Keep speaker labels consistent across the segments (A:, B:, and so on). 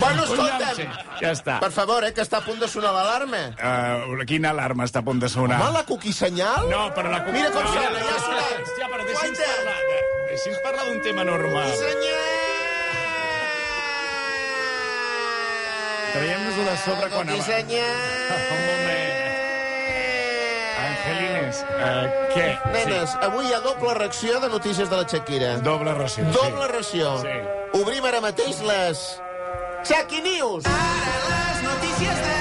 A: Bueno, escolta'm.
B: Ja està.
A: Per favor, eh, que està a punt de sonar l'alarma.
B: Uh, quina alarma està a punt de sonar?
A: Home, la cuqui senyal?
B: Ah. No, però la...
A: Mira com
B: No,
A: sona, ja ha sonat.
C: Hòstia, però deixi'ns
A: Guaita.
C: parlar, de- deixi'ns parlar d'un tema normal.
A: Senyal!
B: Traiem-nos-ho de sobre quan
A: Cuqui
B: abans.
A: senyal!
C: Un moment.
B: Angelines, uh, què?
A: Nenes, avui hi ha doble reacció de notícies de la Shakira.
B: Sí. Doble ració.
A: Doble ració.
B: Sí.
A: Obrim ara mateix les... Shaki News! Ara les notícies de...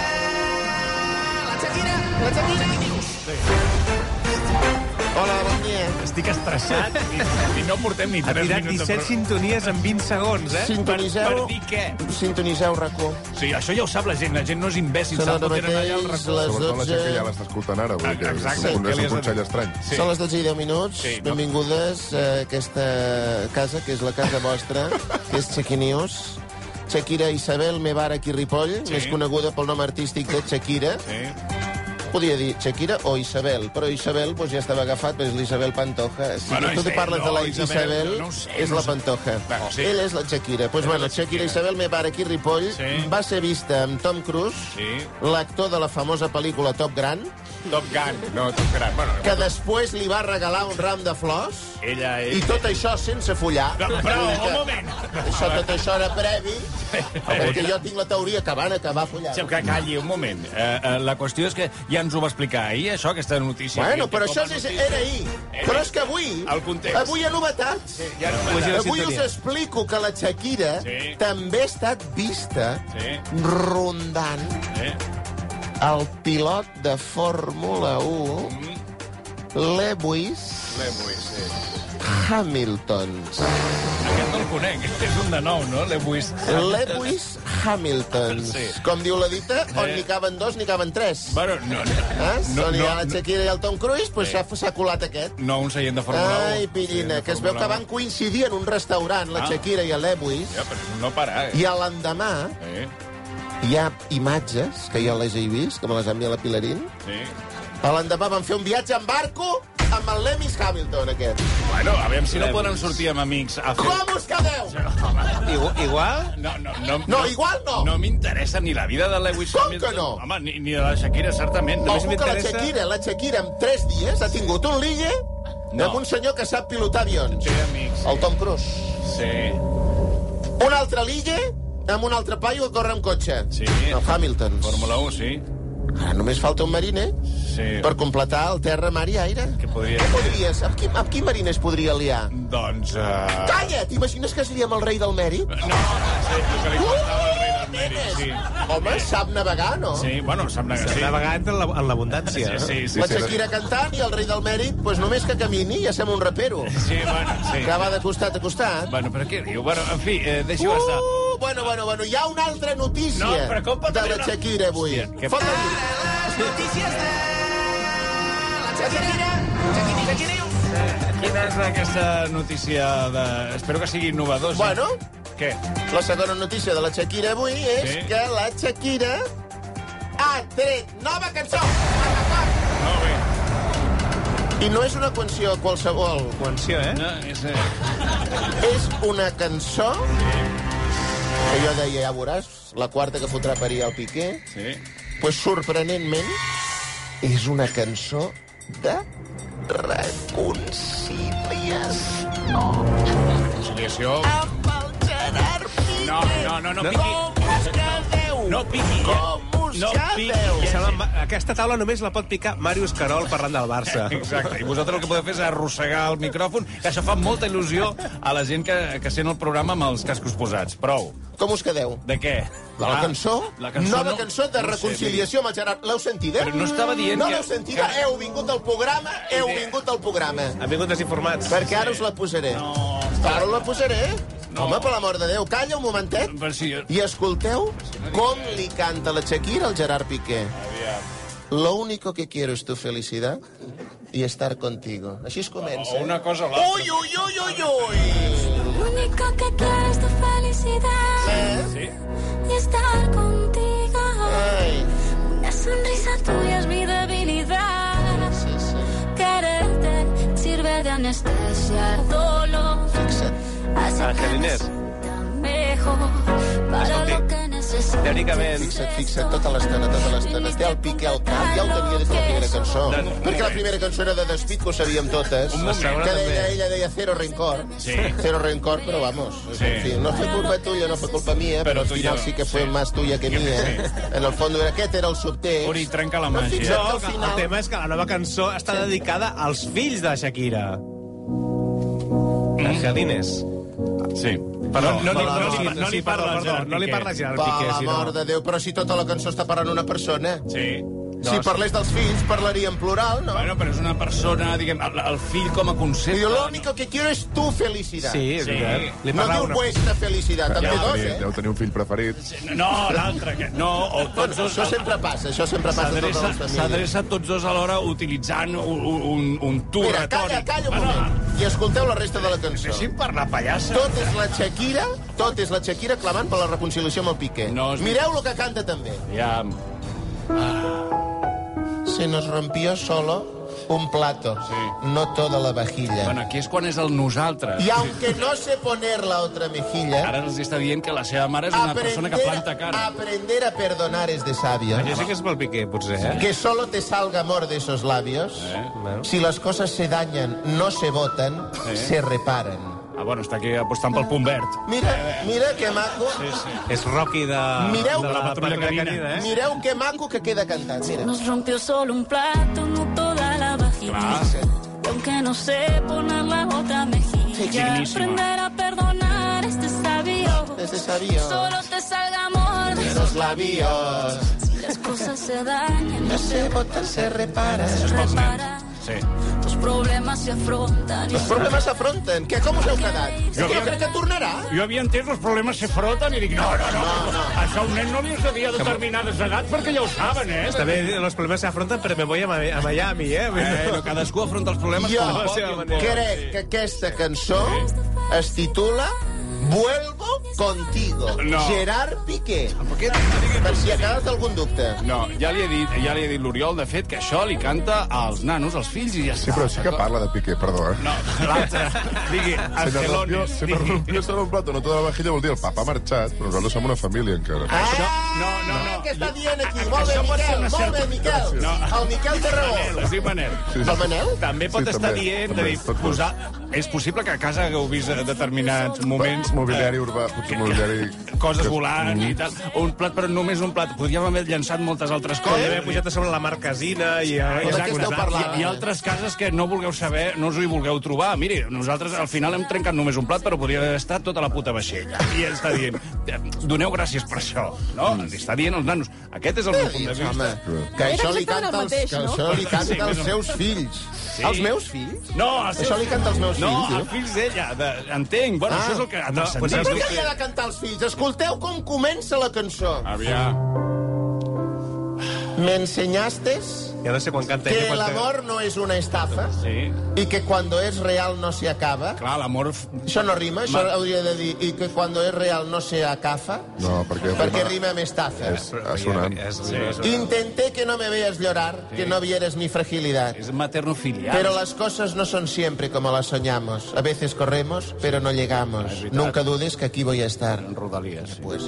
A: La Shakira, la Shakira News. Hola, bon dia.
B: Sí. Estic estressat i, i no portem ni
C: Ha
B: 3
C: tirat
B: minuts
C: 17 sintonies en 20 segons, eh?
A: Sintonitzeu.
C: Per, per dir què?
A: Sintonitzeu, racó.
B: Sí, això ja ho sap la gent, la gent no és imbècil,
A: Són
B: sap
A: ara
B: que tenen allà el
A: mateix
B: record.
A: les
D: Sobretot la gent que ja
A: 12...
D: l'està escoltant ara, vull dir que
B: Exacte.
D: és un,
B: Què
D: és
B: li has
D: un
B: de
D: consell
B: dir?
D: estrany.
B: Sí.
A: Són les 12 i 10 minuts.
B: Sí, no.
A: Benvingudes a aquesta casa, que és la casa vostra, que és Chequi News. Shakira Isabel Mevara aquí Ripoll,
B: Sí.
A: més coneguda pel nom artístic de Shakira.
B: Sí.
A: Podia dir Shakira o Isabel, però Isabel doncs, ja estava agafat, però és l'Isabel Pantoja. Si bueno,
B: Bueno,
A: tu li
B: Isabel,
A: parles de la
B: no,
A: Isabel,
B: Isabel,
A: Isabel
B: no ho sé,
A: és
B: no
A: la
B: sé.
A: Pantoja.
B: Bueno, sí.
A: Ella és la Shakira. Doncs pues,
B: la
A: bueno,
B: Shakira.
A: Shakira Isabel me para aquí Ripoll
B: Sí.
A: va ser vista amb Tom Cruise,
B: Sí.
A: l'actor de la famosa pel·lícula Top Gran,
B: Top Gun. No, Top Gun. Bueno,
A: que després li va regalar un ram de flors,
B: ella és...
A: i tot això sense follar.
B: No, però, un moment.
A: Això, tot això era previ, perquè jo tinc la teoria que van acabar follant.
B: Sí, que calli, un moment. Uh, uh, la qüestió és que ja ens ho va explicar ahir, això, aquesta notícia.
A: Bueno,
B: Aquesta
A: però
B: com
A: això
B: a
A: és,
B: notícia.
A: era ahir. Però és que avui...
B: El context.
A: Avui hi ha novetats.
B: Ja no m'agrada.
A: Avui us explico que la Shakira
B: Sí.
A: també ha estat vista
B: Sí.
A: rondant
B: Eh?
A: el pilot de Fórmula
B: Mm,
A: 1, Lewis
B: Lewis, sí.
A: Hamilton.
B: Aquest no el conec, és un de nou, no? Lewis.
A: Lewis Hamilton.
B: Sí.
A: Com diu la dita, on
B: Eh.
A: n'hi caben dos, n'hi caben tres.
B: Bueno, no, no,
A: Eh?
B: No,
A: No, on hi ha
B: no,
A: la
B: no.
A: Shakira i el Tom Cruise, doncs s'ha s'ha colat aquest.
B: no un seient de Fórmula 1.
A: Ai, Pirina,
B: Sí, de
A: que es veu
B: Fórmula
A: que van coincidir en un restaurant, la
B: Ah.
A: Shakira i el Lewis,
B: 1. Ja, però és un no parar, eh?
A: i a l'endemà
B: Sí,
A: hi ha imatges, que jo les he vist, que me les ha enviat la Pilarín,
B: sí.
A: a l'endemà van fer un viatge en barco amb el Lewis Hamilton, aquest.
B: Bueno, a veure si no podran sortir amb amics a fer...
A: Com us quedeu?
C: Igual, igual?
B: No, no, no,
A: No, igual no.
B: No m'interessa ni la vida de Lewis
A: Com
B: Hamilton.
A: que no?
B: Home, ni, ni de la Shakira, certament.
A: Ojo que la
C: m'interessa-
A: Shakira, la Shakira, en tres dies ha tingut un lille
B: No.
A: amb un senyor que sap pilotar avions.
B: Sí, amics.
A: El Tom Cruise.
B: Sí.
A: Un altre lille amb un altre paio que corre amb cotxe.
B: Sí.
A: El Hamilton.
B: Fórmula 1, sí.
A: Ara només falta un mariner
B: Sí.
A: per completar el terra, mar i aire.
B: Què podria...
A: Què podries? Amb qui, amb qui mariner es podria liar?
B: Doncs... Uh...
A: Calla! T'imagines que es lia amb el rei del mèrit?
B: No, sí, el que li faltava al rei del mèrit,
A: Nenes!
B: Eh, sí.
A: Home, sap navegar, no?
B: Sí, bueno, sembla que sí.
C: Navegant en la- en l'abundància. eh?
B: Sí, sí, sí.
A: La
B: sí.
A: Shakira cantant i el rei del mèrit, doncs només que camini ja sembla un rapero.
B: Sí, bueno, sí.
A: Que va de costat a costat.
B: Bueno, però què diu? Bueno, en fi, eh, deixi-ho estar.
A: Uh, bueno, bueno, bueno, hi ha una altra notícia
B: No, però com pot
A: de
B: haver
A: la
B: una-
A: Shakira avui.
B: Hòstia, què-
A: Fot el llit.
B: Quina és aquesta notícia de... Espero que sigui innovadosa.
A: Bueno,
B: Què?
A: la segona notícia de la Shakira avui és
B: Sí.
A: que la Shakira ha tret nova cançó.
B: No, bé.
A: I no és una canció qualsevol.
C: Conció, eh?
B: No, és... Eh...
A: És una cançó que jo deia, ja veuràs, la quarta que fotrà per ahir al Piqué,
B: Sí.
A: pues, sorprenentment és una cançó de reconciliació
B: Conciliació...
A: amb el Gerard Piqué.
B: No, no, no, no, Piqué.
A: Com us quedeu?
B: No piqui.
A: Com us
B: No
A: quedeu?
B: piqui.
C: Se l'en va- Aquesta taula només la pot picar Màrius Carol parlant del Barça.
B: Exacte. I vosaltres el que podeu fer és arrossegar el micròfon, que això fa molta il·lusió a la gent que, que sent el programa amb els cascos posats. Prou.
A: Com us quedeu?
B: De què?
A: La, la cançó?
B: Ah, La cançó
A: Nova
B: no-
A: cançó de
B: no ho sé,
A: reconciliació amb el Gerard. L'heu sentida?
B: Però no estava dient
A: No
B: que-
A: l'heu sentida?
B: que-
A: Heu vingut al programa? Heu vingut al programa.
C: Han vingut desinformats.
A: Perquè ara us la posaré.
B: No,
A: Ara us la posaré. No. Home, per l'amor de Déu, calla un momentet
B: Però sí, jo-
A: i escolteu com li canta la Shakira al Gerard Piqué. Lo único que quiero es tu felicidad y estar contigo. Així es comença. eh?
B: o una cosa o l'altra.
A: Ui, ui, ui, ui, ui!
E: Lo único que quiero es tu felicidad
A: Eh?
B: Sí.
E: y estar contigo.
A: Ai,
E: Una sonrisa tuya es mi debilidad.
A: sí, sí.
E: Quererte sirve de anestesia al dolor.
A: Fixa't.
E: Hace que me
C: Angelines.
E: sienta mejor para lo que
C: teòricament...
A: Fixa't, fixa't, tota l'estona, tota l'estona. Té el Piqué al cap, ja ho tenia des de la primera cançó.
B: No, no,
A: Perquè la primera cançó era de despit, que ho sabíem totes.
B: Un moment.
A: Que deia, ella deia cero rencor.
B: Sí.
A: Cero rencor, però vamos.
B: Sí.
A: En fi, no fue culpa tuya, no fue culpa mía,
B: Però
A: però, al
B: tu
A: final
B: ja-
A: sí que fue
B: sí.
A: más tuya que
B: Sí.
A: mía. En el fons, aquest era el subtext.
B: Uri, trenca la
A: Però
B: màgia.
A: fixa't
C: No,
A: que al
C: el,
A: final...
C: tema és que la nova cançó està dedicada als fills de la Shakira. Angelines.
B: Sí.
C: Perdó,
B: Mm. no, no,
C: perdó,
B: no,
C: sí,
B: no, no
C: sí,
B: li
C: perdó,
B: parla al
C: perdó,
B: Gerard
C: No li
B: Piqué.
C: parla al Gerard
A: Per
C: Piqué,
A: la
C: sí,
A: mort de Déu, però si tota la cançó està parlant una persona.
B: Sí. Doncs,
A: Si parlés dels fills, parlaria en plural, no?
B: Bueno, però és una persona, diguem, el, el fill com a
A: I
B: concepte.
A: diu, l'único que quiero es tu felicidad.
C: Sí, és
B: Sí.
C: veritat. Li
A: No
C: parla
A: diu
C: una...
A: vuestra felicidad, també
B: ho
A: dos,
D: Tenir,
A: eh?
D: deu tenir un fill preferit.
B: No, l'altre, que... No, o tots
A: Bueno,
B: dos...
A: això sempre passa, això sempre passa a totes les
B: S'adreça
A: famílies.
B: s'adreça tots dos alhora utilitzant un, un, un tu
A: Mira, calla,
B: retòric. Ah,
A: calla un
B: Bueno,
A: moment. I escolteu la resta de la cançó.
B: Deixi'm parlar, pallassa.
A: Tot és la Shakira, tot és la Shakira clamant per la reconciliació amb el Piqué.
B: No, és veritat.
A: Mireu lo que canta també.
B: Ja...
A: Se nos rompió solo un plato,
B: Sí.
A: no toda la vajilla.
B: Bueno, aquí és quan és el nosaltres.
A: Y aunque no sé poner la otra mejilla,
B: Ara els està dient que la seva mare és una persona que planta cara.
A: aprender a perdonar es de sabio.
C: Jo sé que és pel Piqué, potser, eh?
A: Que solo te salga amor de esos labios.
B: Eh.
C: Bueno.
A: Si las cosas se dañan, no se botan, se reparan.
B: Ah, bueno, està aquí apostant pel punt verd.
A: Mira, mira que maco.
C: És Rocky de,
A: Mireu-
C: de la patrulla canina, eh?
A: Mireu que maco que queda cantant. Mira.
E: Nos rompió solo un plato, no toda la vajilla. Y Aunque no sé poner la otra mejilla.
B: dignísima.
E: aprender a perdonar este sabio.
A: Este sabio.
E: Solo te salga amor.
A: De Esos labios.
E: Si las cosas se dañan,
A: No se botan, se reparan.
E: se reparan.
B: Sí.
E: Tus problemas se afrontan. y
A: Els problemes s'afronten. Que com us heu quedat? És
B: Jo-
A: que jo crec que tornarà.
B: Jo havia entès els problemes se froten i dic, no, no, no, això a un nen no li es devia determinades edats perquè ja ho saben, eh?
C: També els problemes s'afronten, però me voy a, Ma- a Miami, eh?
B: Però cadascú afronta els problemes
A: Jo
B: com pot. i
C: seva
B: amb-
C: manera.
A: crec que aquesta cançó es titula Vuelvo contigo.
B: No.
A: Gerard Piqué. Per si acabes d'algun dubte.
B: No, ja li he dit, ja li he dit l'Oriol, de fet, que això li canta als nanos, als fills, i ja està.
D: Sí, però sí que parla de Piqué, perdó, eh?
B: No, l'altre. Digui,
D: Se nos rompió,
B: Angelones.
D: se nos
B: digui.
D: rompió solo un plato, no toda la vajilla, vol dir el papa ha marxat, però nosaltres som una família encara.
B: Això- no, no, no.
A: Ah, Què està dient aquí? Molt bé,
B: Això pot ser
A: Miquel,
B: una
A: molt bé,
B: certa-
A: Miquel.
B: No.
A: El Miquel té raó.
B: Manel, es diu Manel.
D: Sí,
A: El Manel?
B: També pot
D: Sí,
B: estar
D: també,
B: dient,
D: també,
B: de dir,
D: tot pot.
B: posar... És possible que a casa hagueu vist eh, determinats moments... eh,
D: Mobiliari urbà, potser mobiliari...
B: coses
D: que-
B: volant i tal. Un plat, però només un plat. Podríem haver llançat moltes altres coses.
C: Podria haver pujat a sobre la marquesina i... eh, i
A: de què esteu parlant?
B: Hi, hi ha altres cases que no vulgueu saber, no us hi vulgueu trobar. Miri, nosaltres al final hem trencat només un plat, però podria haver estat tota la puta vaixella. I està dient, eh, doneu gràcies per això, no? Li està dient als nanos. Aquest és el meu punt de vista.
A: Home, que això li canta, els, que això li
B: Sí,
A: canta
B: més
A: als
B: o
A: seus fills.
B: Sí.
A: Els meus fills?
B: No, els
A: Això li canta als meus
B: no,
A: fills,
B: No,
A: eh?
B: els fills d'ella, de... entenc. Bueno,
A: Ah.
B: això és el que... No,
C: pues
A: Però
C: saps
A: què li ha de cantar als fills? Escolteu com comença la cançó.
B: Aviam.
A: Me enseñastes...
C: Ja no sé quan canta ella.
A: que el
C: quan-
A: amor no es una estafa
B: Sí.
A: y que cuando es real no se acaba.
B: Clar, l'amor... f-
A: Això no rima, això
B: Ma-
A: hauria de dir i que cuando es real no se acafa
D: No, perquè...
A: perquè rima amb estafa.
D: És assonant.
C: És, és, és,
A: Intenté que no me veas llorar, que no vieras mi fragilidad.
B: És maternofilial.
A: Pero las cosas no son siempre como las soñamos. A veces corremos, pero no llegamos. Nunca dudes que aquí voy a estar.
B: Rodalies. Sí.
A: Pues,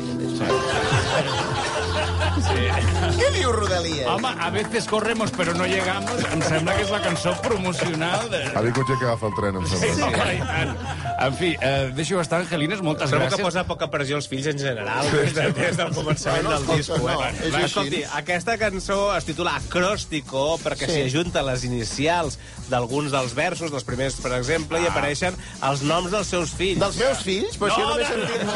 A: Què diu Rodalies?
B: Home, a veces corremos pero no llegamos. Em sembla que és la cançó promocional de...
C: Ah,
D: Ha vingut gent que agafa el tren, em sembla.
B: Sí, home, i tant. En fi, eh, deixo estar, Angelines, moltes
C: Trobo que
B: gràcies.
C: posa poca pressió als fills en general des, de, des del començament del
A: escolta,
C: disco. Eh?
A: no, és
C: Va,
A: així.
C: Escolti, aquesta cançó es titula Acròstico perquè
A: Sí.
C: s'hi ajunten les inicials d'alguns dels versos, dels primers, per exemple, i apareixen els noms dels seus fills.
A: Ah. Dels meus fills? Però si jo
B: No,
A: només
B: no,
A: en
B: no.
A: tinc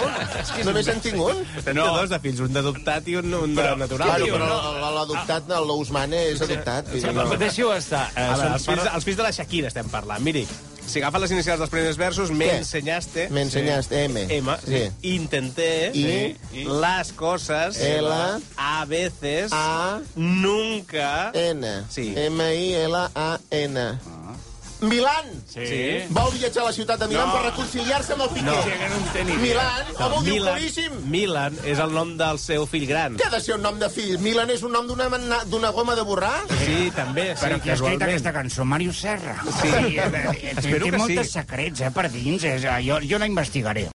A: un. Només en tinc un.
C: Té
B: No.
C: dos de fills, un d'adoptat i un, un de
B: Però-
C: natural.
A: Claro,
B: diu,
A: però
B: no?
A: l- l'adoptat, no, l'Ousmane és adoptat. vull dir,
B: No,
A: no.
B: Deixi-ho estar. Eh,
C: A veure,
B: són
C: els fills, els fills de la Shakira estem parlant. Miri, si agafa les inicials dels primers versos, me
A: Què?
C: enseñaste...
A: Me enseñaste, M.
C: M, sí. Intenté...
A: I-
C: sí, Las cosas...
A: L.
C: A veces...
A: A. E.
C: Nunca...
A: N.
C: Sí.
A: M-I-L-A-N. Milan!
B: Ah. Sí.
C: Sí.
A: Vol viatjar a la ciutat de Milan
B: No.
A: per reconciliar-se amb el Piqué.
B: Sí, que no en té ni idea.
A: Milan, home, ho diu
C: Milan,
A: claríssim.
C: Milan és el nom del seu fill gran.
A: Què ha de ser un nom de fill? Milan és un nom d'una manna- d'una goma de borrar?
C: Sí, també, sí,
F: Però qui ha escrit
C: casualment.
F: aquesta cançó? Mario Serra.
C: Sí.
F: eh, eh,
C: Espero
F: té
C: que sí.
F: moltes secrets, eh, per dins. És, eh, jo, jo la investigaré.